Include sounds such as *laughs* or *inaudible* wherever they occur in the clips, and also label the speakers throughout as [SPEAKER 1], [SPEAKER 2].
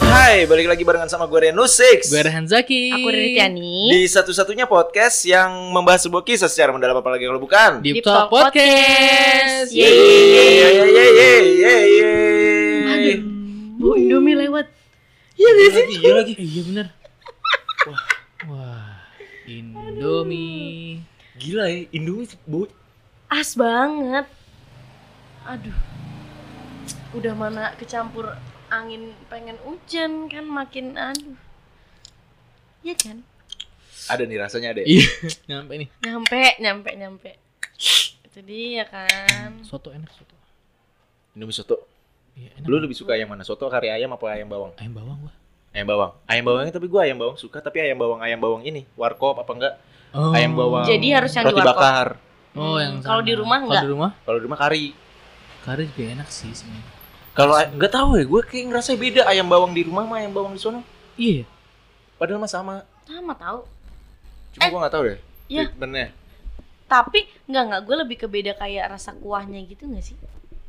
[SPEAKER 1] Hai, balik lagi barengan sama gue Reno Six
[SPEAKER 2] Gue Rehan Zaki.
[SPEAKER 3] Aku Riri Tiani
[SPEAKER 1] Di satu-satunya podcast yang membahas sebuah kisah secara mendalam apalagi kalau bukan
[SPEAKER 2] Deep
[SPEAKER 3] Deep
[SPEAKER 2] Talk
[SPEAKER 3] Talk
[SPEAKER 2] Podcast. Iya,
[SPEAKER 3] Podcast.
[SPEAKER 1] Yeay,
[SPEAKER 2] Yeay.
[SPEAKER 1] yeay, yeay, yeay, yeay, yeay.
[SPEAKER 3] Aduh, Bu Indomie lewat
[SPEAKER 1] Iya gak sih?
[SPEAKER 2] Iya lagi. Iya benar. Wah. Wah. Indomie.
[SPEAKER 1] Gila ya, Indomie bu
[SPEAKER 3] As banget Aduh Udah mana kecampur angin pengen hujan kan makin aduh Iya kan?
[SPEAKER 1] Ada nih rasanya ada ya?
[SPEAKER 2] Iya. Nyampe nih.
[SPEAKER 3] Nyampe, nyampe, nyampe Itu dia kan
[SPEAKER 2] Soto enak soto.
[SPEAKER 1] Indomie soto
[SPEAKER 2] Iya enak.
[SPEAKER 1] Lu lebih suka yang mana? Soto, kari ayam, apa ayam bawang?
[SPEAKER 2] Ayam bawang gua.
[SPEAKER 1] Ayam bawang Ayam bawangnya tapi gue ayam bawang suka Tapi ayam bawang, ayam bawang ini Warkop apa enggak?
[SPEAKER 2] Oh.
[SPEAKER 1] Ayam bawang
[SPEAKER 3] Jadi harus yang di
[SPEAKER 1] Roti
[SPEAKER 3] warkop.
[SPEAKER 1] bakar
[SPEAKER 2] Oh, yang
[SPEAKER 3] Kalau
[SPEAKER 2] sana.
[SPEAKER 3] di rumah
[SPEAKER 2] Kalau di
[SPEAKER 3] enggak?
[SPEAKER 2] rumah
[SPEAKER 1] Kalau di rumah kari
[SPEAKER 2] kari juga enak sih sebenarnya.
[SPEAKER 1] Kalau nggak tahu ya, gue kayak ngerasa beda ayam bawang di rumah sama ayam bawang di sono.
[SPEAKER 2] Iya. ya?
[SPEAKER 1] Padahal mah sama.
[SPEAKER 3] Sama tahu.
[SPEAKER 1] Cuma gue nggak tahu deh.
[SPEAKER 3] Iya.
[SPEAKER 1] Treatmentnya.
[SPEAKER 3] Tapi enggak enggak gue lebih kebeda kayak rasa kuahnya gitu enggak sih?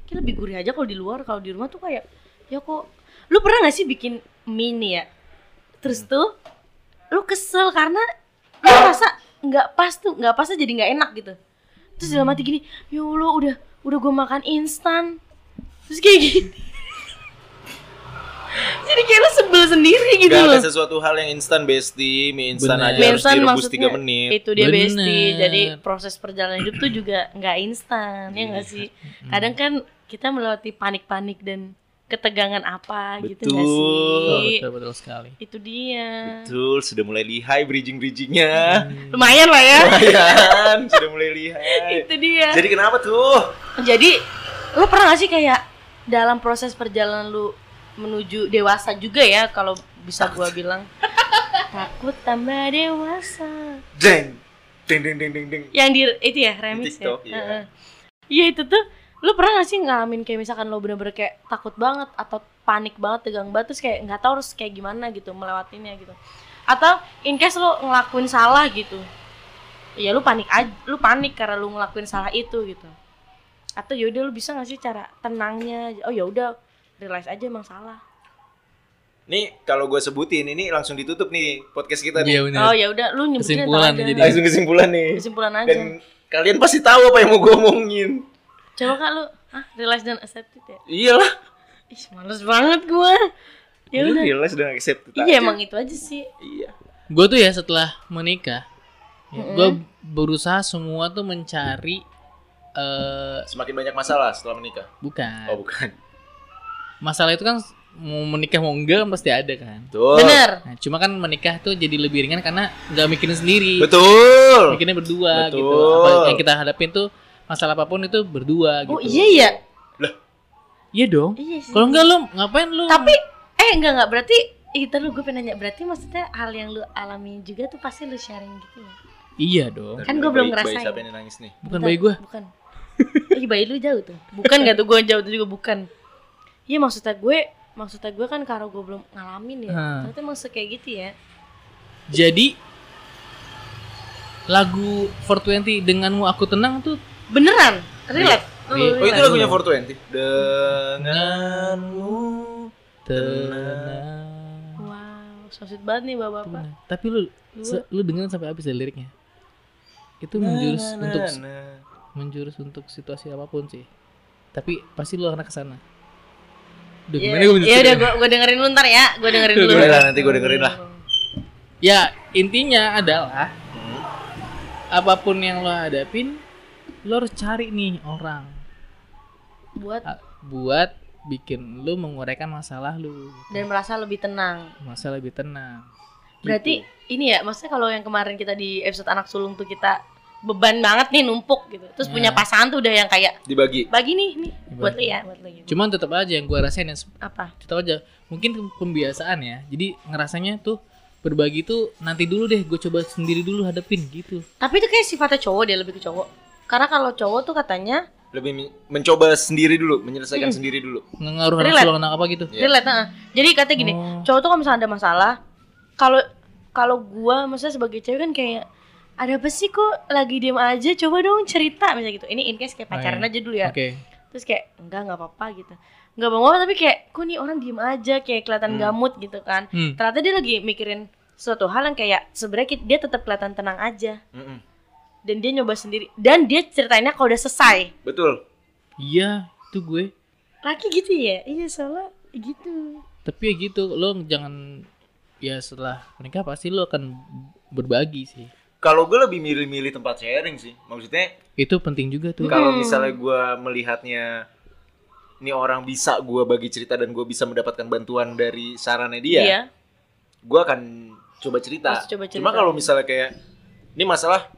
[SPEAKER 3] Kayak lebih gurih aja kalau di luar, kalau di rumah tuh kayak ya kok lu pernah nggak sih bikin mie nih ya? Terus tuh lu kesel karena lu rasa nggak pas tuh, nggak pas tuh jadi nggak enak gitu. Terus dalam hati gini, ya Allah udah udah gue makan instan. Terus kayak gini. *laughs* jadi kayak lu sebel sendiri gitu
[SPEAKER 1] Gak
[SPEAKER 3] loh.
[SPEAKER 1] ada sesuatu hal yang instan besti, mie instan aja
[SPEAKER 2] Bener.
[SPEAKER 3] Mie
[SPEAKER 1] harus
[SPEAKER 3] instan
[SPEAKER 1] direbus
[SPEAKER 3] maksudnya
[SPEAKER 1] 3 menit.
[SPEAKER 3] itu dia
[SPEAKER 2] Bener.
[SPEAKER 3] besti jadi proses perjalanan hidup tuh juga nggak instan ya nggak sih
[SPEAKER 2] Hmm.
[SPEAKER 3] kadang kan kita melewati panik-panik dan ketegangan apa gitu nggak
[SPEAKER 1] Betul.
[SPEAKER 2] Betul,
[SPEAKER 3] sih
[SPEAKER 2] Oh, betul, betul sekali.
[SPEAKER 3] itu dia
[SPEAKER 1] Betul, sudah mulai lihai *laughs* bridging-bridgingnya.
[SPEAKER 3] lumayan lah ya
[SPEAKER 1] Lumayan, sudah mulai lihai.
[SPEAKER 3] itu dia
[SPEAKER 1] Jadi kenapa tuh?
[SPEAKER 3] jadi lu pernah gak sih kayak dalam proses perjalanan lu menuju dewasa juga ya kalau bisa gua bilang
[SPEAKER 1] *laughs*
[SPEAKER 3] takut tambah dewasa
[SPEAKER 1] Deng, deng, deng, deng, deng, deng.
[SPEAKER 3] yang di itu ya remix
[SPEAKER 1] Di TikTok,
[SPEAKER 3] ya.
[SPEAKER 1] iya.
[SPEAKER 3] Heeh. Iya itu tuh lu pernah gak sih ngalamin kayak misalkan lo bener-bener kayak takut banget atau panik banget tegang banget terus kayak nggak tahu harus kayak gimana gitu melewatinya gitu atau in case lo ngelakuin salah gitu ya lu panik aja lu panik karena lu ngelakuin salah itu gitu atau yaudah lu bisa gak sih cara tenangnya oh yaudah realize aja emang salah
[SPEAKER 1] Nih kalau gue sebutin ini langsung ditutup nih podcast kita nih.
[SPEAKER 2] Iya benar.
[SPEAKER 3] oh yaudah lu nyebutin atau
[SPEAKER 2] Kesimpulan
[SPEAKER 3] aja
[SPEAKER 2] jadi.
[SPEAKER 1] Langsung kesimpulan nih.
[SPEAKER 3] kesimpulan aja
[SPEAKER 1] Dan kalian pasti tahu apa yang mau gue omongin.
[SPEAKER 3] coba kak lu ah realize dan accept it ya
[SPEAKER 1] Iyalah.
[SPEAKER 3] Ih, males banget gua.
[SPEAKER 2] Iya,
[SPEAKER 3] Ya
[SPEAKER 1] Lu
[SPEAKER 3] udah.
[SPEAKER 1] realize dan accept it
[SPEAKER 3] Iya
[SPEAKER 1] aja.
[SPEAKER 3] emang itu aja sih.
[SPEAKER 1] Iya.
[SPEAKER 2] gue tuh ya setelah menikah ya,
[SPEAKER 3] Mm-mm.
[SPEAKER 2] gue berusaha semua tuh mencari eh
[SPEAKER 1] Semakin banyak masalah setelah menikah.
[SPEAKER 2] bukan
[SPEAKER 1] Oh bukan.
[SPEAKER 2] masalah itu kan mau menikah mau enggak pasti ada kan
[SPEAKER 1] Betul.
[SPEAKER 3] Bener.
[SPEAKER 2] nah, cuma kan menikah tuh jadi lebih ringan karena nggak mikirin sendiri
[SPEAKER 1] Betul.
[SPEAKER 2] mikirinnya berdua
[SPEAKER 1] Betul.
[SPEAKER 2] gitu apa yang kita hadapin tuh masalah apapun itu berdua gitu
[SPEAKER 3] Oh iya ya.
[SPEAKER 2] iya dong
[SPEAKER 3] Iya sih.
[SPEAKER 2] kalau enggak lu ngapain lu
[SPEAKER 3] Tapi eh enggak enggak berarti eh terus gue pengen nanya berarti maksudnya hal yang lu alami juga tuh pasti lu sharing gitu ya.
[SPEAKER 2] iya dong
[SPEAKER 3] Kan gua belum
[SPEAKER 1] Bayi- bayi
[SPEAKER 3] ngerasain.
[SPEAKER 1] siapa yang nangis nih?
[SPEAKER 2] bukan
[SPEAKER 3] Bentar,
[SPEAKER 2] bayi gue
[SPEAKER 3] Bukan. Ih bayi lu jauh tuh. Bukan gak tuh gue jauh tuh juga bukan. Iya maksudnya gue maksudnya gue kan karena gue belum ngalamin ya.
[SPEAKER 2] Hmm.
[SPEAKER 3] Ternyata emang kayak gitu ya.
[SPEAKER 2] jadi lagu 420 denganmu aku tenang tuh
[SPEAKER 3] Beneran. Relate.
[SPEAKER 2] Iya.
[SPEAKER 1] Oh
[SPEAKER 3] Lu
[SPEAKER 1] itu
[SPEAKER 3] relate.
[SPEAKER 1] lagunya 420 Denganmu
[SPEAKER 2] tenang
[SPEAKER 3] Wow, so sweet banget nih
[SPEAKER 2] Itu
[SPEAKER 3] bapak-bapak.
[SPEAKER 2] benar. Tapi lu
[SPEAKER 3] Lu-
[SPEAKER 2] se- lu dengerin sampai habis dari liriknya. Itu menjurus untuk menjurus untuk situasi apapun sih. Tapi pasti lu akan ke sana. Duh,
[SPEAKER 3] Ya,
[SPEAKER 2] gimana gua
[SPEAKER 3] ya
[SPEAKER 2] menjurus
[SPEAKER 3] udah
[SPEAKER 2] ya?
[SPEAKER 3] gue gue dengerin lu ntar ya, gue dengerin dulu.
[SPEAKER 1] Boleh lah nanti gue dengerin lah
[SPEAKER 2] Ya, intinya adalah apapun yang lo hadapin, lo harus cari nih orang
[SPEAKER 3] Buat
[SPEAKER 2] ah, buat bikin lu menguraikan masalah lu.
[SPEAKER 3] dan merasa lebih tenang.
[SPEAKER 2] Masalah lebih tenang.
[SPEAKER 1] Gitu.
[SPEAKER 2] Gitu.
[SPEAKER 3] Berarti ini ya, maksudnya kalau yang kemarin kita di episode anak sulung tuh kita beban banget nih numpuk gitu. Terus
[SPEAKER 1] Iya.
[SPEAKER 2] Ya.
[SPEAKER 3] punya pasangan tuh udah yang kayak
[SPEAKER 1] Dibagi
[SPEAKER 3] bagi nih nih
[SPEAKER 1] Iya.
[SPEAKER 3] buat lu ya, buat lu gitu.
[SPEAKER 2] Cuman tetap aja yang gua rasain yang
[SPEAKER 3] Apa?
[SPEAKER 2] cerita aja mungkin ke- pembiasaan ya jadi ngerasanya tuh berbagi tuh nanti dulu deh gue coba sendiri dulu hadapin gitu
[SPEAKER 3] Tapi itu kayak sifatnya cowok dia lebih ke cowok. Karena kalau cowok tuh katanya
[SPEAKER 1] Lebih men- mencoba sendiri dulu Menyelesaikan sendiri dulu
[SPEAKER 2] nggak ngaruh harus
[SPEAKER 3] Relate.
[SPEAKER 2] lo kenapa apa gitu
[SPEAKER 1] Iya.
[SPEAKER 3] relate heeh. Jadi katanya gini,
[SPEAKER 2] Oh.
[SPEAKER 3] cowok tuh kalau misalnya ada masalah, kalau kalau gua maksudnya sebagai cewek kan kayak ada apa sih kok lagi diem aja coba dong cerita misalnya gitu ini in case kayak
[SPEAKER 2] Oh,
[SPEAKER 3] pacaran
[SPEAKER 2] iya.
[SPEAKER 3] aja dulu ya
[SPEAKER 2] oke
[SPEAKER 3] terus kayak enggak nggak apa-apa gitu nggak bang tapi kayak kok nih orang diem aja kayak
[SPEAKER 1] Hmm.
[SPEAKER 3] kelihatan gamut gitu kan
[SPEAKER 2] Hmm.
[SPEAKER 3] ternyata dia lagi mikirin suatu hal yang kayak sebenarnya ki- dia tetap kelihatan tenang aja
[SPEAKER 1] Mm-mm.
[SPEAKER 3] dan dia nyoba sendiri dan dia ceritainnya kalau udah selesai
[SPEAKER 1] Betul.
[SPEAKER 2] Iya, itu gue.
[SPEAKER 3] laki gitu ya iya soalnya gitu
[SPEAKER 2] Tapi ya gitu, lo jangan ya setelah menikah pasti lo akan berbagi sih.
[SPEAKER 1] Kalau gue lebih milih-milih tempat sharing sih. Maksudnya
[SPEAKER 2] Itu penting juga tuh.
[SPEAKER 1] kalau
[SPEAKER 3] Hmm.
[SPEAKER 1] misalnya gue melihatnya ini orang bisa gue bagi cerita dan gue bisa mendapatkan bantuan dari sarannya dia,
[SPEAKER 3] iya
[SPEAKER 1] gue akan coba cerita.
[SPEAKER 3] Pasti coba cerita.
[SPEAKER 1] Cuma kalau misalnya kayak ini masalah,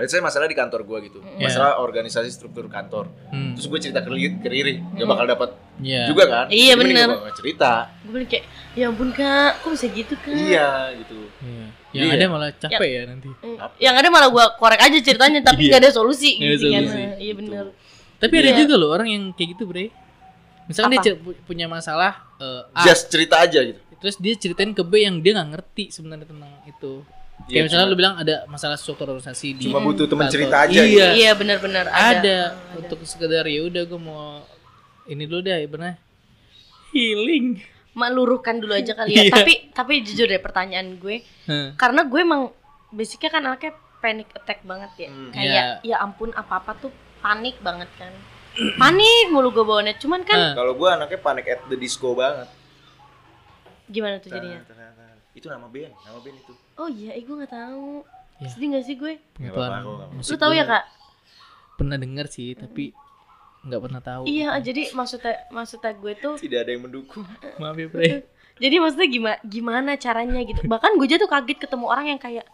[SPEAKER 1] let's say masalah di kantor gue gitu,
[SPEAKER 3] Mm.
[SPEAKER 1] masalah organisasi struktur kantor,
[SPEAKER 2] Hmm.
[SPEAKER 1] terus gue cerita ke, li- ke Riri, gak
[SPEAKER 3] Mm.
[SPEAKER 1] bakal dapat
[SPEAKER 2] Iya.
[SPEAKER 1] juga kan?
[SPEAKER 3] Iya,
[SPEAKER 1] Jadi mending
[SPEAKER 3] bener.
[SPEAKER 1] gua gak cerita,
[SPEAKER 3] gue bilang kayak ya ampun kak kok bisa gitu kak
[SPEAKER 1] iya gitu.
[SPEAKER 2] Iya. Yang
[SPEAKER 1] Iya.
[SPEAKER 2] ada malah capek ya nanti.
[SPEAKER 3] Eh, yang ada malah gue korek aja ceritanya
[SPEAKER 2] Iya.
[SPEAKER 3] tapi nggak ada solusi
[SPEAKER 2] Nggak ada
[SPEAKER 3] gitu kan
[SPEAKER 2] solusi.
[SPEAKER 3] iya bener
[SPEAKER 2] Tapi ada
[SPEAKER 3] Iya.
[SPEAKER 2] juga loh orang yang kayak gitu, Bre. Misalkan
[SPEAKER 3] Apa?
[SPEAKER 2] dia cer- pu- punya masalah eh, A,
[SPEAKER 1] Just cerita aja gitu.
[SPEAKER 2] terus dia ceritain ke B yang dia nggak ngerti sebenarnya tentang itu.
[SPEAKER 1] Iya,
[SPEAKER 2] Kayak misalnya
[SPEAKER 1] cuma-
[SPEAKER 2] lu bilang ada masalah struktur organisasi di
[SPEAKER 1] Cuma butuh teman
[SPEAKER 2] kantor.
[SPEAKER 1] cerita aja
[SPEAKER 2] Iya.
[SPEAKER 1] gitu.
[SPEAKER 3] iya bener-bener
[SPEAKER 2] ada,
[SPEAKER 3] ada
[SPEAKER 2] untuk sekedar ya udah gue mau ini dulu deh pernah healing.
[SPEAKER 3] meluruhkan dulu aja kali ya
[SPEAKER 2] Iya.
[SPEAKER 3] tapi tapi jujur deh pertanyaan gue
[SPEAKER 2] Hah.
[SPEAKER 3] karena gue emang basicnya kan anaknya panic attack banget ya
[SPEAKER 1] Hmm.
[SPEAKER 3] kayak
[SPEAKER 2] Iya.
[SPEAKER 3] ya ampun apa apa tuh panik banget kan panik mulu gue bawaannya cuman kan
[SPEAKER 2] Hah.
[SPEAKER 1] Kalau gue anaknya panic at the disco banget. Nah,
[SPEAKER 3] gimana tuh
[SPEAKER 1] Ah.
[SPEAKER 3] jadinya
[SPEAKER 1] Itu nama band, nama band itu.
[SPEAKER 3] oh iya eh, gue nggak tahu
[SPEAKER 2] Iya.
[SPEAKER 3] sedih gak sih gue
[SPEAKER 1] Nggak
[SPEAKER 2] Pelan.
[SPEAKER 1] apa-apa, nggak apa-apa.
[SPEAKER 2] Maksud
[SPEAKER 3] lu tahu ya
[SPEAKER 2] gua
[SPEAKER 3] kak
[SPEAKER 2] Gitu kan. Pernah dengar sih, tapi nggak pernah tahu.
[SPEAKER 3] iya jadi maksudnya maksudnya gue tuh
[SPEAKER 1] Tidak ada yang mendukung.
[SPEAKER 2] Maaf ya, Bre.
[SPEAKER 3] jadi maksudnya gimana gimana caranya gitu bahkan gue aja tuh kaget ketemu orang yang kayak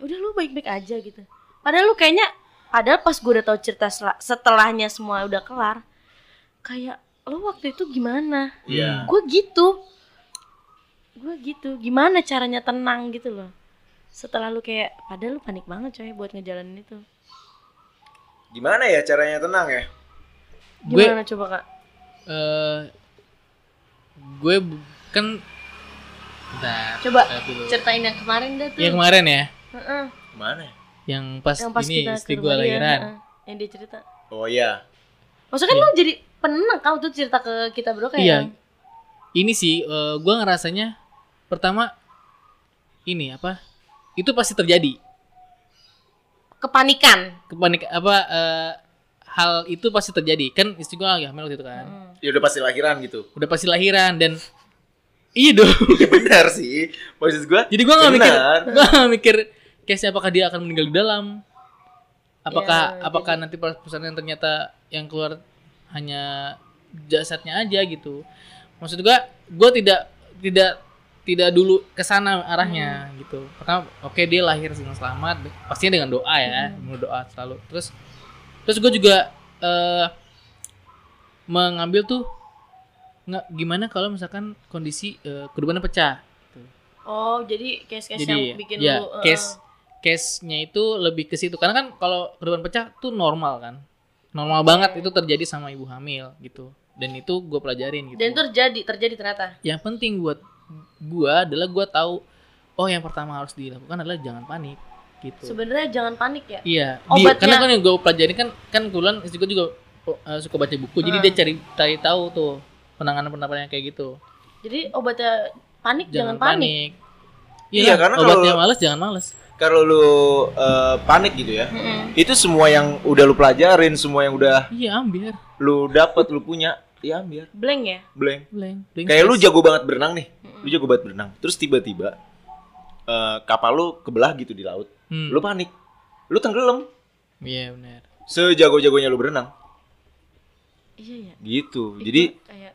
[SPEAKER 3] udah lu baik-baik aja gitu padahal lu kayaknya padahal pas gue udah tahu cerita sel- setelahnya semua udah kelar kayak lu waktu itu gimana
[SPEAKER 1] Iya.
[SPEAKER 3] gue gitu gue gitu gimana caranya tenang gitu loh setelah lu kayak padahal lu panik banget coy buat ngejalanin itu
[SPEAKER 1] Gimana ya caranya tenang ya?
[SPEAKER 2] Gue
[SPEAKER 3] gimana coba kak
[SPEAKER 2] eh gue bu- kan Bentar,
[SPEAKER 3] Coba
[SPEAKER 2] bentar dulu.
[SPEAKER 3] ceritain yang kemarin dah tuh
[SPEAKER 2] yang kemarin ya,
[SPEAKER 3] Heeh,
[SPEAKER 1] Gimana ya?
[SPEAKER 2] yang pas,
[SPEAKER 3] yang pas
[SPEAKER 2] ini
[SPEAKER 3] kita
[SPEAKER 2] istri
[SPEAKER 3] ke
[SPEAKER 2] gue
[SPEAKER 3] rumah dia,
[SPEAKER 2] lahiran.
[SPEAKER 3] heeh, yang dia cerita
[SPEAKER 1] Oh iya.
[SPEAKER 3] Maksudnya kan lu jadi penenang kalau tuh cerita ke kita berdua kayak
[SPEAKER 2] Iya.
[SPEAKER 3] yang-
[SPEAKER 2] Ini sih eh, gue ngerasanya pertama ini apa? Itu pasti terjadi.
[SPEAKER 3] kepanikan.
[SPEAKER 2] Kepanik apa eh, hal itu pasti terjadi. Kan istri gue lagi hamil waktu itu kan.
[SPEAKER 3] Hmm.
[SPEAKER 1] Ya udah pasti lahiran gitu.
[SPEAKER 2] Udah pasti lahiran dan iya dong.
[SPEAKER 1] Ya benar sih. Maksud gue
[SPEAKER 2] Jadi gue nggak mikir, *laughs*
[SPEAKER 1] Benar.
[SPEAKER 2] gue nggak mikir case apakah dia akan meninggal di dalam, apakah
[SPEAKER 3] Ya,
[SPEAKER 2] apakah nanti perusahaan yang ternyata yang keluar hanya jasadnya aja gitu. Maksud gue, gue tidak tidak tidak dulu ke sana arahnya gitu. Pertama, oke dia lahir dengan selamat, pastinya dengan doa ya, menurut doa selalu. Terus terus gue juga eh, mengambil tuh nge- gimana kalau misalkan kondisi eh, kedudukannya pecah
[SPEAKER 3] Oh, jadi case-case yang bikin
[SPEAKER 2] ya,
[SPEAKER 3] lu eh,
[SPEAKER 2] case case-nya itu lebih ke situ karena kan kalau kedudukan pecah tuh normal kan normal banget itu terjadi sama ibu hamil gitu dan itu gue pelajarin
[SPEAKER 3] eh.
[SPEAKER 2] gitu
[SPEAKER 3] dan itu terjadi, terjadi ternyata.
[SPEAKER 2] yang penting buat gua adalah gua tahu oh yang pertama harus dilakukan adalah jangan panik gitu
[SPEAKER 3] Sebenarnya jangan panik ya.
[SPEAKER 2] iya di-
[SPEAKER 3] Obatnya-
[SPEAKER 2] karena kan yang gue pelajarin kan kan kebetulan istri gue juga eh, suka baca buku jadi
[SPEAKER 3] Hmm.
[SPEAKER 2] dia cari cari tahu tuh penanganan penanganannya kayak gitu
[SPEAKER 3] Jadi obatnya panik
[SPEAKER 2] jangan,
[SPEAKER 3] jangan, panik.
[SPEAKER 2] panik,
[SPEAKER 1] Iya, karena kalau-
[SPEAKER 2] obatnya males jangan males
[SPEAKER 1] kalau lu eh, panik gitu ya.
[SPEAKER 3] Mm-mm.
[SPEAKER 1] Itu semua yang udah lu pelajarin, semua yang udah
[SPEAKER 2] iya ambil
[SPEAKER 1] lu dapat, lu punya, ya biar
[SPEAKER 3] Blank ya.
[SPEAKER 1] blank.
[SPEAKER 2] blank, blank
[SPEAKER 1] Kayak lu
[SPEAKER 2] space.
[SPEAKER 1] jago banget berenang nih. Lu jago banget berenang. Terus tiba-tiba eh, kapal lu kebelah gitu di laut.
[SPEAKER 2] Hmm.
[SPEAKER 1] Lu panik. Lu tenggelam.
[SPEAKER 2] Iya benar.
[SPEAKER 1] Sejago-jagonya lu berenang
[SPEAKER 3] Iya ya.
[SPEAKER 1] gitu.
[SPEAKER 3] Itu
[SPEAKER 1] Jadi
[SPEAKER 3] kayak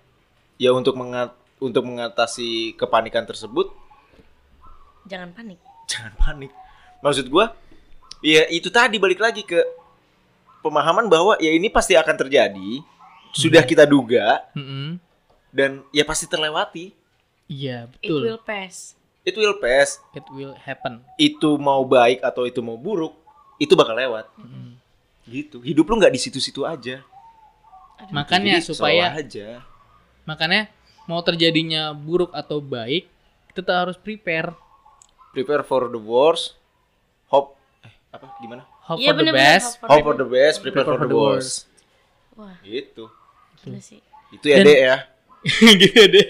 [SPEAKER 1] ya untuk mengat untuk mengatasi kepanikan tersebut *laughs*
[SPEAKER 3] jangan panik.
[SPEAKER 1] jangan panik. Maksud gua ya itu tadi balik lagi ke pemahaman bahwa ya ini pasti akan terjadi, sudah kita duga
[SPEAKER 2] Mm-mm.
[SPEAKER 1] dan ya pasti terlewati.
[SPEAKER 2] Hmm, Iya
[SPEAKER 3] It
[SPEAKER 2] betul. It
[SPEAKER 3] will pass.
[SPEAKER 1] It will pass.
[SPEAKER 2] will, happen.
[SPEAKER 1] Itu mau baik atau itu mau buruk, itu bakal lewat.
[SPEAKER 2] Mm-mm.
[SPEAKER 1] Gitu. Hidup lu nggak di situ-situ aja.
[SPEAKER 3] Aduh.
[SPEAKER 2] Makanya
[SPEAKER 1] Jadi,
[SPEAKER 2] supaya
[SPEAKER 1] slow aja.
[SPEAKER 2] makanya mau terjadinya buruk atau baik kita tetap harus prepare.
[SPEAKER 1] Prepare for the worst. Hope eh, apa gimana?
[SPEAKER 2] Hope
[SPEAKER 3] Iya,
[SPEAKER 2] for the
[SPEAKER 3] bener-bener
[SPEAKER 2] best.
[SPEAKER 3] hope
[SPEAKER 1] Hope for the best, prepare, for, the worst.
[SPEAKER 2] worst.
[SPEAKER 3] Wah,
[SPEAKER 1] Gitu.
[SPEAKER 3] gila sih.
[SPEAKER 1] Itu ya
[SPEAKER 2] Dan-
[SPEAKER 1] deh ya.
[SPEAKER 2] *laughs* gitu deh.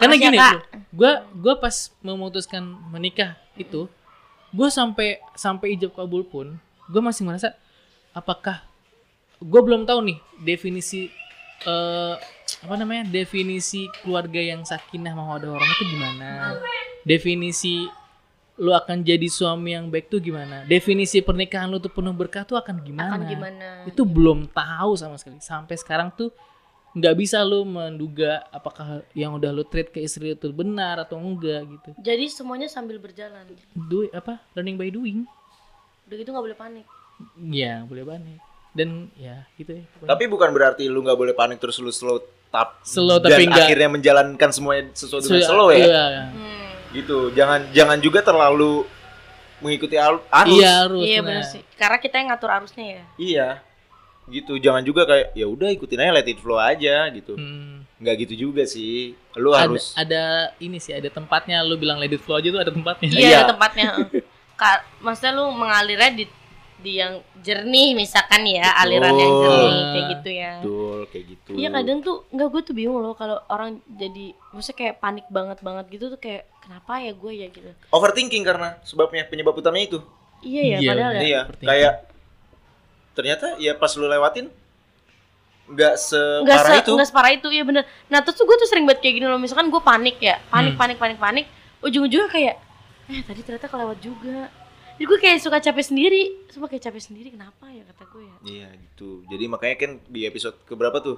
[SPEAKER 2] Karena
[SPEAKER 3] Makasih ya,
[SPEAKER 2] gini,
[SPEAKER 3] Kak.
[SPEAKER 2] loh, gua gua pas memutuskan menikah itu, gua sampai sampai ijab kabul pun, gua masih merasa apakah gua belum tahu nih definisi eh apa namanya? definisi keluarga yang sakinah mawaddah warahmah itu gimana? Definisi lu akan jadi suami yang baik tuh gimana? Definisi pernikahan lu tuh penuh berkah tuh akan gimana?
[SPEAKER 3] akan gimana
[SPEAKER 2] itu belum tahu sama sekali sampai sekarang tuh nggak bisa lo menduga apakah yang udah lo treat ke istri lo tuh benar atau enggak gitu
[SPEAKER 3] jadi semuanya sambil berjalan
[SPEAKER 2] do apa learning by doing
[SPEAKER 3] udah gitu nggak boleh panik
[SPEAKER 2] ya boleh banget dan ya gitu ya pokoknya.
[SPEAKER 1] Tapi bukan berarti lu nggak boleh panik terus lu slow tap
[SPEAKER 2] Slow
[SPEAKER 1] dan
[SPEAKER 2] tapi nggak-
[SPEAKER 1] akhirnya menjalankan semuanya sesuatu dengan
[SPEAKER 2] Sudah-
[SPEAKER 1] slow ya.
[SPEAKER 2] iya, iya.
[SPEAKER 3] hmm.
[SPEAKER 1] Gitu. Jangan jangan juga terlalu mengikuti al- arus.
[SPEAKER 2] iya harus
[SPEAKER 3] iya
[SPEAKER 2] nah.
[SPEAKER 3] benar sih karena kita yang ngatur arusnya ya
[SPEAKER 1] Iya. Gitu. Jangan juga kayak ya udah ikutin aja let it flow aja gitu.
[SPEAKER 2] Hmm.
[SPEAKER 1] nggak gitu juga sih. Lu
[SPEAKER 2] ada,
[SPEAKER 1] harus
[SPEAKER 2] ada ini sih ada tempatnya lo bilang let it flow aja tuh ada tempatnya
[SPEAKER 1] Iya.
[SPEAKER 3] Iya, ada tempatnya. heeh. Ka- Maksudnya lu mengalirnya di di yang jernih misalkan ya,
[SPEAKER 1] Betul.
[SPEAKER 3] aliran yang jernih kayak
[SPEAKER 2] Ah,
[SPEAKER 3] gitu ya.
[SPEAKER 1] betul kayak gitu.
[SPEAKER 3] Iya kadang tuh nggak gue tuh bingung loh kalau orang jadi maksudnya kayak panik banget banget gitu tuh kayak kenapa ya gue ya gitu.
[SPEAKER 1] Overthinking karena sebabnya penyebab utamanya itu.
[SPEAKER 3] Iya ya
[SPEAKER 2] Iya,
[SPEAKER 3] padahal
[SPEAKER 2] bener.
[SPEAKER 3] ya.
[SPEAKER 1] Iya,
[SPEAKER 2] overthinking.
[SPEAKER 1] kayak ternyata ya pas lu lewatin nggak
[SPEAKER 3] Nggak
[SPEAKER 1] separah
[SPEAKER 3] se-
[SPEAKER 1] Iya, itu.
[SPEAKER 3] nggak separah itu ya bener. Nah terus tuh gue tuh sering banget kayak gini loh misalkan gue panik ya,
[SPEAKER 2] Hmm.
[SPEAKER 3] panik panik panik panik, ujung-ujungnya kayak eh tadi ternyata kelewat juga. Jadi gue kayak suka capek sendiri, suka kayak capek sendiri kenapa ya kata gue ya.
[SPEAKER 1] Iya gitu. Jadi makanya kan di episode keberapa tuh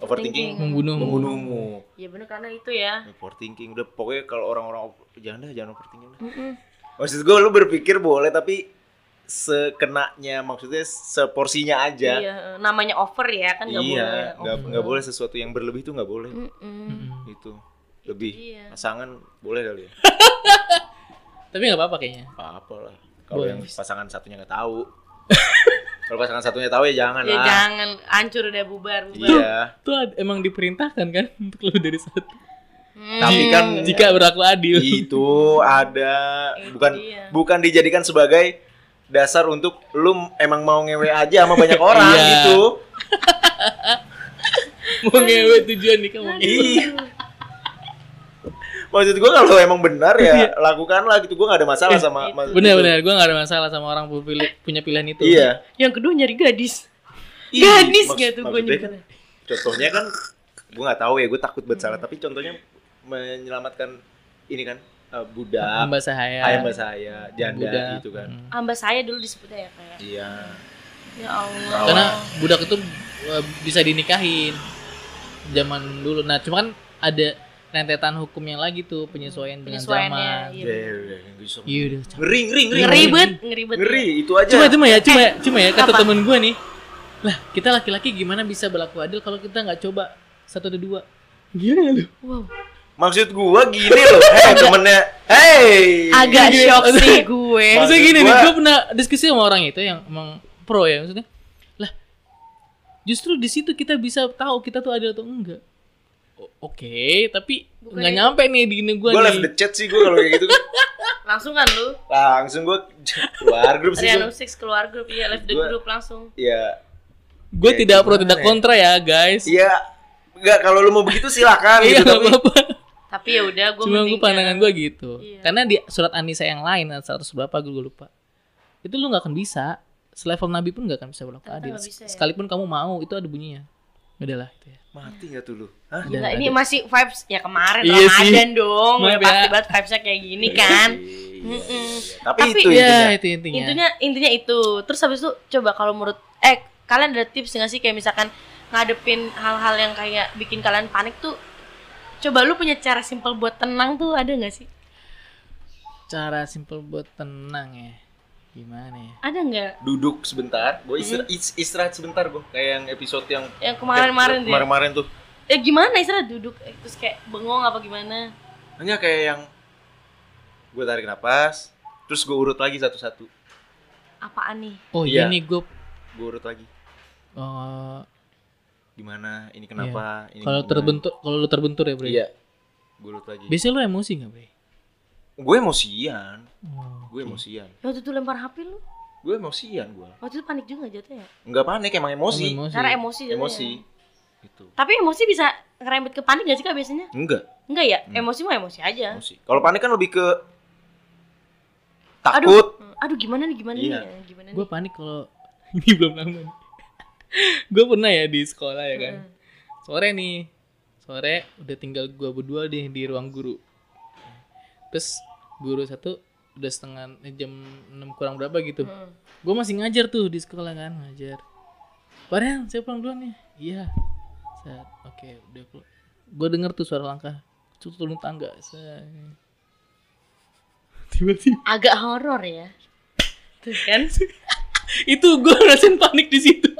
[SPEAKER 1] Overthinking.
[SPEAKER 3] Hmm.
[SPEAKER 2] Membunuh.
[SPEAKER 1] membunuhmu.
[SPEAKER 3] Iya bener karena itu ya.
[SPEAKER 1] Overthinking udah pokoknya kalau orang-orang over- jangan dah jangan overthinking. dah.
[SPEAKER 3] Mm-mm.
[SPEAKER 1] Maksud gue lu berpikir boleh tapi sekenanya maksudnya seporsinya aja.
[SPEAKER 3] Iya, eh, namanya over ya kan nggak
[SPEAKER 1] Iya,
[SPEAKER 3] boleh.
[SPEAKER 1] nggak
[SPEAKER 3] over.
[SPEAKER 1] nggak boleh sesuatu yang berlebih tuh nggak boleh.
[SPEAKER 3] Mm-mm.
[SPEAKER 2] Mm-mm.
[SPEAKER 1] Itu lebih
[SPEAKER 3] Iya.
[SPEAKER 1] pasangan boleh kali ya.
[SPEAKER 2] tapi nggak apa-apa kayaknya
[SPEAKER 1] apa lah kalau
[SPEAKER 2] Boleh.
[SPEAKER 1] yang pasangan satunya nggak tahu
[SPEAKER 2] *laughs*
[SPEAKER 1] kalau pasangan satunya tahu ya jangan
[SPEAKER 3] Ya
[SPEAKER 1] lah
[SPEAKER 3] jangan hancur udah bubar bubar.
[SPEAKER 1] iya
[SPEAKER 2] itu ad- emang diperintahkan kan *laughs* untuk lo dari satu
[SPEAKER 3] Hmm.
[SPEAKER 1] tapi kan
[SPEAKER 2] Iya. jika berlaku adil
[SPEAKER 1] itu ada
[SPEAKER 3] Itu
[SPEAKER 1] bukan
[SPEAKER 3] dia.
[SPEAKER 1] bukan dijadikan sebagai dasar untuk lu emang mau ngewe aja sama banyak orang
[SPEAKER 2] Iya.
[SPEAKER 1] gitu
[SPEAKER 2] mau ngewe tujuan nikah mau ngewe.
[SPEAKER 1] iya maksud gua kalau emang benar
[SPEAKER 2] Iya.
[SPEAKER 1] ya lakukanlah gitu gua nggak ada
[SPEAKER 2] Eh,
[SPEAKER 1] masalah sama sama itu.
[SPEAKER 2] Bener-bener, gue gak ada masalah sama orang berpilih- punya pilihan itu.
[SPEAKER 1] iya
[SPEAKER 3] Yang kedua nyari gadis.
[SPEAKER 1] Ih,
[SPEAKER 3] Gadis
[SPEAKER 1] maks-
[SPEAKER 3] nggak tuh gua
[SPEAKER 1] maksudnya
[SPEAKER 3] nyebutnya?
[SPEAKER 1] kan, contohnya kan gue nggak tahu ya gue takut buat salah tapi contohnya menyelamatkan ini kan eh, budak
[SPEAKER 2] Mbak Sahaya.
[SPEAKER 1] ayam bahasa janda
[SPEAKER 2] Iya. budak.
[SPEAKER 1] gitu kan
[SPEAKER 2] Hmm.
[SPEAKER 3] Amba saya dulu disebutnya ya kayak.
[SPEAKER 1] iya
[SPEAKER 3] Ya Allah.
[SPEAKER 1] Rawan.
[SPEAKER 2] Karena budak itu eh, bisa dinikahin zaman dulu. Nah, cuma kan ada rentetan hukumnya lagi tuh penyesuaian dengan
[SPEAKER 3] Penyesuaiannya,
[SPEAKER 2] zaman.
[SPEAKER 3] iya.
[SPEAKER 2] Iya udah. cakep.
[SPEAKER 1] ngeri ngeri ngeri
[SPEAKER 3] Ngeribet, ngeribet.
[SPEAKER 1] ngeri itu aja
[SPEAKER 2] Cuma cuma ya, cuma cuma ya kata
[SPEAKER 3] Eh, apa?
[SPEAKER 2] temen gue nih. Lah, kita laki-laki gimana bisa berlaku adil kalau kita nggak coba satu atau dua? Gila nggak lu?
[SPEAKER 3] Wow.
[SPEAKER 1] maksud gue gini loh hey, temennya hey
[SPEAKER 3] Agak
[SPEAKER 2] Iya.
[SPEAKER 3] shock sih gue.
[SPEAKER 1] Maksud
[SPEAKER 2] Maksudnya gini nih,
[SPEAKER 1] gua-
[SPEAKER 2] gue pernah diskusi sama orang itu yang emang pro ya maksudnya. Lah, justru di situ kita bisa tahu kita tuh adil atau enggak. O- Oke, tapi
[SPEAKER 3] Bukannya-
[SPEAKER 2] nggak nyampe nih di gini gue
[SPEAKER 1] gue left
[SPEAKER 2] nih.
[SPEAKER 1] the chat sih gue kalau kayak gitu kan.
[SPEAKER 3] Langsung kan lu.
[SPEAKER 1] langsung gue keluar grup sih
[SPEAKER 3] Riano
[SPEAKER 1] gue
[SPEAKER 3] Six keluar grup, iya left the
[SPEAKER 1] Gua-
[SPEAKER 3] group langsung.
[SPEAKER 1] ya
[SPEAKER 2] Gue
[SPEAKER 1] Ya,
[SPEAKER 2] tidak pro
[SPEAKER 1] gimana
[SPEAKER 2] tidak
[SPEAKER 1] ya?
[SPEAKER 2] kontra ya guys.
[SPEAKER 1] iya nggak kalau lu mau begitu silakan
[SPEAKER 2] *laughs*
[SPEAKER 1] gitu
[SPEAKER 2] Iya nggak
[SPEAKER 1] tapi
[SPEAKER 2] apa-apa.
[SPEAKER 3] Tapi ya udah gue
[SPEAKER 2] Cuma gue pandangan gue gitu.
[SPEAKER 3] Iya.
[SPEAKER 2] Karena di surat Anisa yang lain 100 berapa gue lupa. Itu lu nggak akan bisa. Selevel Nabi pun nggak akan bisa berlaku
[SPEAKER 3] Ternyata
[SPEAKER 2] adil.
[SPEAKER 3] nggak bisa ya.
[SPEAKER 2] Sekalipun kamu mau itu ada bunyinya. Udahlah itu ya.
[SPEAKER 1] mati nggak tuh lu Hah?
[SPEAKER 2] Ada-
[SPEAKER 3] Gila,
[SPEAKER 2] ada.
[SPEAKER 3] ini masih vibes ya kemarin
[SPEAKER 2] Iya sih.
[SPEAKER 3] Ramadan dong.
[SPEAKER 2] Maaf
[SPEAKER 3] Udah
[SPEAKER 2] ya.
[SPEAKER 3] pasti banget vibesnya kayak gini
[SPEAKER 1] *laughs*
[SPEAKER 3] kan.
[SPEAKER 1] Iya,
[SPEAKER 3] Mm-mm.
[SPEAKER 1] iya, iya. Tapi,
[SPEAKER 3] Tapi-
[SPEAKER 1] itu
[SPEAKER 2] Iya,
[SPEAKER 1] intinya.
[SPEAKER 2] itu intinya.
[SPEAKER 3] intinya intinya itu terus habis itu coba kalau menurut eh kalian ada tips nggak sih kayak misalkan ngadepin hal-hal yang kayak bikin kalian panik tuh coba lu punya cara simpel buat tenang tuh ada nggak sih
[SPEAKER 2] cara simple buat tenang ya gimana ya
[SPEAKER 3] ada nggak
[SPEAKER 1] Duduk sebentar, gue istirahat sebentar gue. Kayak yang episode yang
[SPEAKER 3] yang kemarin-kemarin
[SPEAKER 1] yang
[SPEAKER 3] ya
[SPEAKER 1] kemarin-kemarin tuh.
[SPEAKER 3] ya gimana istirahat duduk eh, terus kayak bengong apa gimana
[SPEAKER 1] Hanya kayak yang gue tarik napas, terus gue urut lagi satu-satu.
[SPEAKER 3] apaan nih
[SPEAKER 2] oh
[SPEAKER 1] Iya.
[SPEAKER 2] ini gue
[SPEAKER 1] Gue urut lagi. Gimana? Ini kenapa? Ini
[SPEAKER 2] kalau
[SPEAKER 1] gimana?
[SPEAKER 2] terbentur kalau lu terbentur ya Bre
[SPEAKER 1] Iya. Gue urut lagi.
[SPEAKER 2] biasanya lu emosi nggak Bre
[SPEAKER 1] Gue emosian.
[SPEAKER 2] oh,
[SPEAKER 1] Gue emosian.
[SPEAKER 3] Ya, waktu itu lempar HP lu
[SPEAKER 1] Gue emosian gue.
[SPEAKER 3] waktu itu panik juga jatuh ya
[SPEAKER 1] Enggak panik emang emosi. Iya,
[SPEAKER 3] karena emosi jatuhnya.
[SPEAKER 1] Emosi. Gitu.
[SPEAKER 3] Tapi emosi bisa ngerembet ke panik gak sih kak biasanya?
[SPEAKER 1] Enggak.
[SPEAKER 3] Enggak ya,
[SPEAKER 1] Hmm.
[SPEAKER 3] emosi mah emosi aja.
[SPEAKER 1] emosi. Kalau panik kan lebih ke
[SPEAKER 3] Aduh,
[SPEAKER 1] takut.
[SPEAKER 3] aduh gimana nih gimana
[SPEAKER 1] Iya.
[SPEAKER 3] nih, gimana
[SPEAKER 2] gue
[SPEAKER 3] nih?
[SPEAKER 2] panik kalau *laughs* ini belum lama nih. *laughs* gue pernah ya di sekolah ya kan
[SPEAKER 3] Heeh.
[SPEAKER 2] sore nih sore udah tinggal gua berdua deh di ruang guru terus guru satu udah setengah eh, jam 6 kurang berapa gitu
[SPEAKER 3] Heeh.
[SPEAKER 2] gue masih ngajar tuh di sekolah kan ngajar Farel saya pulang duluan nih iya set oke udah keluar gue denger tuh suara langkah tuh turun tangga set. tiba-tiba
[SPEAKER 3] Agak horor ya. Tuh kan? *laughs*
[SPEAKER 2] itu gue ngerasain panik di situ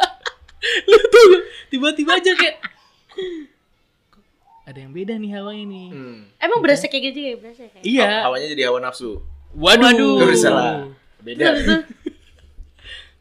[SPEAKER 2] lu tuh tiba-tiba aja kayak "Kok ada yang beda nih hawa ini
[SPEAKER 1] Hmm.
[SPEAKER 3] Emang berasa kayak gitu juga ya berasa kayak.
[SPEAKER 1] Haw-
[SPEAKER 2] iya
[SPEAKER 1] Hawanya jadi hawa nafsu.
[SPEAKER 2] waduh,
[SPEAKER 1] Gak bersalah. Beda.
[SPEAKER 3] Terus tuh.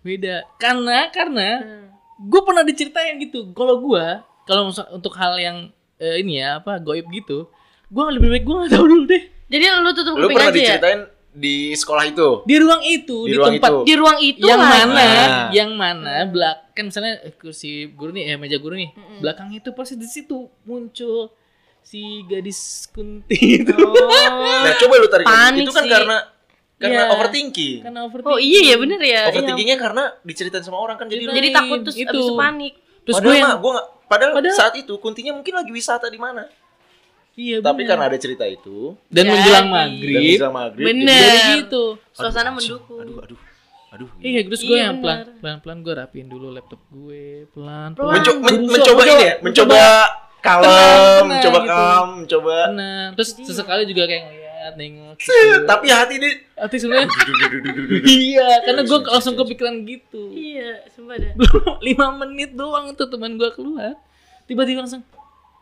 [SPEAKER 2] beda karena karena
[SPEAKER 3] Hmm.
[SPEAKER 2] gue pernah diceritain gitu kalau gue kalau maksud- untuk hal yang eh, ini ya apa goib gitu gue lebih baik gue nggak tahu dulu deh
[SPEAKER 3] Jadi lu tutup
[SPEAKER 1] Lu
[SPEAKER 3] kuping
[SPEAKER 1] pernah
[SPEAKER 3] aja ya?
[SPEAKER 1] diceritain di sekolah itu.
[SPEAKER 2] di ruang itu
[SPEAKER 1] Di
[SPEAKER 2] di,
[SPEAKER 1] ruang
[SPEAKER 2] tempat
[SPEAKER 1] itu.
[SPEAKER 3] Di ruang itu
[SPEAKER 2] yang
[SPEAKER 3] lah.
[SPEAKER 2] mana
[SPEAKER 1] Nah.
[SPEAKER 2] yang mana belakang kan misalnya eh, kursi guru nih eh, meja guru nih belakang itu pasti di situ muncul si gadis
[SPEAKER 1] *laughs*
[SPEAKER 2] kunti itu
[SPEAKER 3] Oh.
[SPEAKER 1] Nah, coba lu tarik lagi.
[SPEAKER 3] Panik
[SPEAKER 1] Itu kan
[SPEAKER 3] sih.
[SPEAKER 1] karena karena
[SPEAKER 2] Iya.
[SPEAKER 1] overthinking.
[SPEAKER 2] karena overthinking
[SPEAKER 3] Oh iya ya bener ya. Iya.
[SPEAKER 1] Overthinkingnya karena diceritain sama orang kan jadi lu-
[SPEAKER 2] Ceritain.
[SPEAKER 3] Jadi takut terus
[SPEAKER 2] Itu.
[SPEAKER 3] abis itu panik.
[SPEAKER 2] terus
[SPEAKER 1] padahal
[SPEAKER 2] gue yang
[SPEAKER 1] mah, gua nggak- padahal,
[SPEAKER 2] Padahal-
[SPEAKER 1] saat itu kuntinya mungkin lagi wisata di mana.
[SPEAKER 2] iya
[SPEAKER 1] Tapi
[SPEAKER 2] bener.
[SPEAKER 1] karena ada cerita itu
[SPEAKER 2] dan
[SPEAKER 3] Jadi.
[SPEAKER 2] menjelang
[SPEAKER 1] dan
[SPEAKER 2] maghrib
[SPEAKER 1] bisa maghrib. iya.
[SPEAKER 3] Bener.
[SPEAKER 1] jadi-
[SPEAKER 2] jadi
[SPEAKER 3] Bener.
[SPEAKER 2] gitu
[SPEAKER 3] Suasana
[SPEAKER 1] langsung,
[SPEAKER 3] mendukung.
[SPEAKER 1] Aduh, aduh. Aduh. gitu.
[SPEAKER 2] iya terus gue
[SPEAKER 3] Iya,
[SPEAKER 2] yang pelan
[SPEAKER 3] bener.
[SPEAKER 2] pelan pelan gue rapiin dulu laptop gue pelan
[SPEAKER 3] Pelan.
[SPEAKER 2] pelan
[SPEAKER 1] Menco- men-
[SPEAKER 2] Berusaha,
[SPEAKER 1] mencoba
[SPEAKER 2] mencoba,
[SPEAKER 1] ini ya, mencoba
[SPEAKER 2] mencoba.
[SPEAKER 1] kalem,
[SPEAKER 2] Tenang,
[SPEAKER 1] mencoba
[SPEAKER 2] gitu.
[SPEAKER 1] kalem, mencoba
[SPEAKER 2] Nah, terus
[SPEAKER 3] Jadi-
[SPEAKER 2] sesekali juga kayak ngeliat, nengok.
[SPEAKER 1] Eh,
[SPEAKER 2] gitu.
[SPEAKER 1] tapi hati ini
[SPEAKER 2] Tapi sebenarnya iya, karena gue langsung kepikiran gitu. *laughs*
[SPEAKER 3] Iya, sumpah dah.
[SPEAKER 2] Lima menit doang tuh teman gue keluar, tiba-tiba langsung,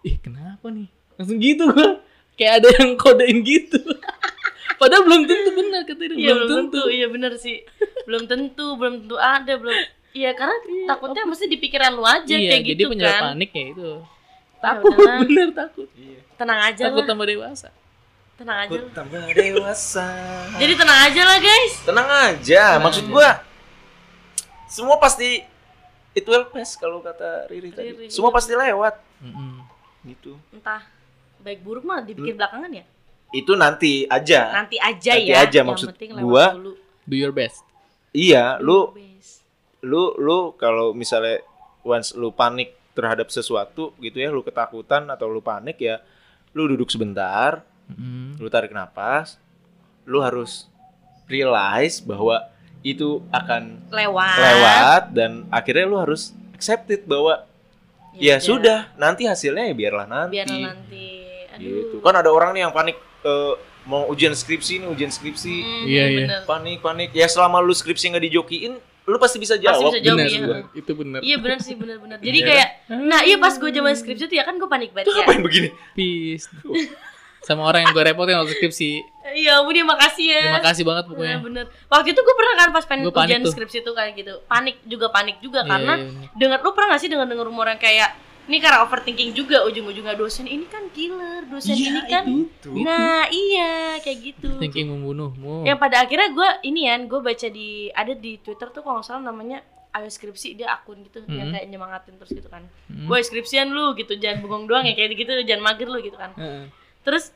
[SPEAKER 2] ih kenapa nih? Langsung gitu gue, kayak ada yang kodein gitu. *laughs* Padahal belum tentu benar katanya,
[SPEAKER 3] Iya
[SPEAKER 2] belum tentu.
[SPEAKER 3] Iya bener sih. Belum tentu, belum tentu ada, belum. Iya karena takutnya mesti di pikiran lu aja
[SPEAKER 2] Iya,
[SPEAKER 3] kayak
[SPEAKER 2] jadi
[SPEAKER 3] gitu
[SPEAKER 2] penyebab
[SPEAKER 3] kan.
[SPEAKER 2] panik ya itu.
[SPEAKER 3] Takut.
[SPEAKER 2] Takut, *laughs* bener takut.
[SPEAKER 3] Tenang aja
[SPEAKER 2] Takut
[SPEAKER 3] lah.
[SPEAKER 2] tambah dewasa.
[SPEAKER 3] Tenang aja.
[SPEAKER 1] Aku
[SPEAKER 3] lah.
[SPEAKER 1] tambah dewasa.
[SPEAKER 3] Jadi tenang aja lah guys.
[SPEAKER 1] tenang aja, maksud gua semua pasti it will pass kalau kata Riri
[SPEAKER 3] Riri,
[SPEAKER 1] tadi. Semua
[SPEAKER 3] iya.
[SPEAKER 1] pasti lewat
[SPEAKER 2] Mm-mm.
[SPEAKER 1] gitu.
[SPEAKER 3] Entah baik buruk mah dipikir belakangan ya.
[SPEAKER 1] Itu nanti aja.
[SPEAKER 3] Nanti aja
[SPEAKER 1] Hmm. Nanti
[SPEAKER 3] ya.
[SPEAKER 1] aja,
[SPEAKER 3] Yang
[SPEAKER 1] maksud
[SPEAKER 3] penting
[SPEAKER 1] gua.
[SPEAKER 3] dulu.
[SPEAKER 2] Do your best.
[SPEAKER 1] Iya, lu
[SPEAKER 3] Best.
[SPEAKER 1] lu lu kalau misalnya once lu panik terhadap sesuatu gitu ya, lu ketakutan atau lu panik ya, lu duduk sebentar,
[SPEAKER 2] Mm-mm.
[SPEAKER 1] lu tarik nafas, lu harus realize bahwa itu akan
[SPEAKER 3] lewat.
[SPEAKER 1] lewat dan akhirnya lu harus accept it bahwa ya,
[SPEAKER 3] udah.
[SPEAKER 1] sudah nanti hasilnya ya biarlah nanti.
[SPEAKER 3] Gitu Biar nanti. Aduh.
[SPEAKER 1] Gitu. Kan ada orang nih yang panik eh, mau ujian skripsi nih, ujian skripsi.
[SPEAKER 3] Hmm,
[SPEAKER 2] Iya, iya.
[SPEAKER 3] bener.
[SPEAKER 1] Panik, panik. Ya selama lu skripsi nggak dijokiin, lu pasti bisa jawab.
[SPEAKER 3] bisa jawab,
[SPEAKER 2] Bener,
[SPEAKER 3] iya.
[SPEAKER 2] gua. itu bener.
[SPEAKER 3] Iya benar sih benar-benar. Jadi
[SPEAKER 1] Iya.
[SPEAKER 3] kayak nah iya pas gue zaman skripsi tuh ya kan gue panik banget ya.
[SPEAKER 1] Ngapain begini?
[SPEAKER 2] Peace. Sama orang yang gue repotin waktu skripsi.
[SPEAKER 3] Iya ampun ya makasih ya.
[SPEAKER 2] Terima kasih banget
[SPEAKER 3] Nah,
[SPEAKER 2] pokoknya.
[SPEAKER 3] bener. Waktu itu gue pernah kan pas pengen
[SPEAKER 2] Gua panik
[SPEAKER 3] ujian
[SPEAKER 2] tuh.
[SPEAKER 3] skripsi tuh kayak gitu. Panik juga panik juga
[SPEAKER 2] Iya,
[SPEAKER 3] karena
[SPEAKER 2] iya, iya.
[SPEAKER 3] dengar lu pernah gak sih dengar dengar rumor yang kayak ini karena overthinking juga ujung-ujungnya dosen ini kan killer, dosen ini kan.
[SPEAKER 1] Iya, Itu.
[SPEAKER 3] Nah, iya kayak gitu.
[SPEAKER 2] Thinking membunuhmu.
[SPEAKER 3] Yang pada akhirnya gue ini ya, gue baca di ada di Twitter tuh kalau nggak salah namanya ayo skripsi dia akun gitu yang
[SPEAKER 2] Mhm.
[SPEAKER 3] kayak nyemangatin terus gitu kan.
[SPEAKER 2] Hmm.
[SPEAKER 3] Boy skripsian lu gitu, jangan bengong doang ya kayak gitu, jangan mager lu gitu kan.
[SPEAKER 2] Heeh.
[SPEAKER 3] Terus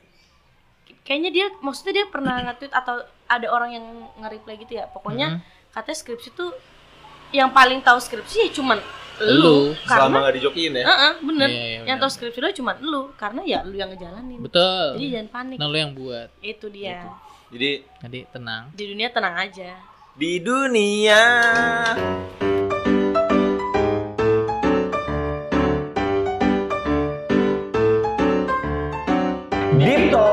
[SPEAKER 3] kayaknya dia maksudnya dia pernah nge-tweet atau ada orang yang nge-reply gitu ya. Pokoknya
[SPEAKER 2] Heeh.
[SPEAKER 3] katanya skripsi tuh yang paling tahu skripsi ya cuman
[SPEAKER 2] Lu.
[SPEAKER 3] lu,
[SPEAKER 1] Selama
[SPEAKER 3] karena
[SPEAKER 1] nggak dijokiin ya.
[SPEAKER 3] Heeh, bener.
[SPEAKER 2] Iya, iya, bener.
[SPEAKER 3] yang tahu skripsi lu cuman lu karena ya lu yang ngejalanin.
[SPEAKER 2] Betul. Iya,
[SPEAKER 3] Jadi jangan panik.
[SPEAKER 2] Nah, lo yang buat.
[SPEAKER 3] Itu dia.
[SPEAKER 1] Jadi
[SPEAKER 2] Jadi tenang.
[SPEAKER 3] Di dunia tenang aja.
[SPEAKER 1] di dunia Deep Talk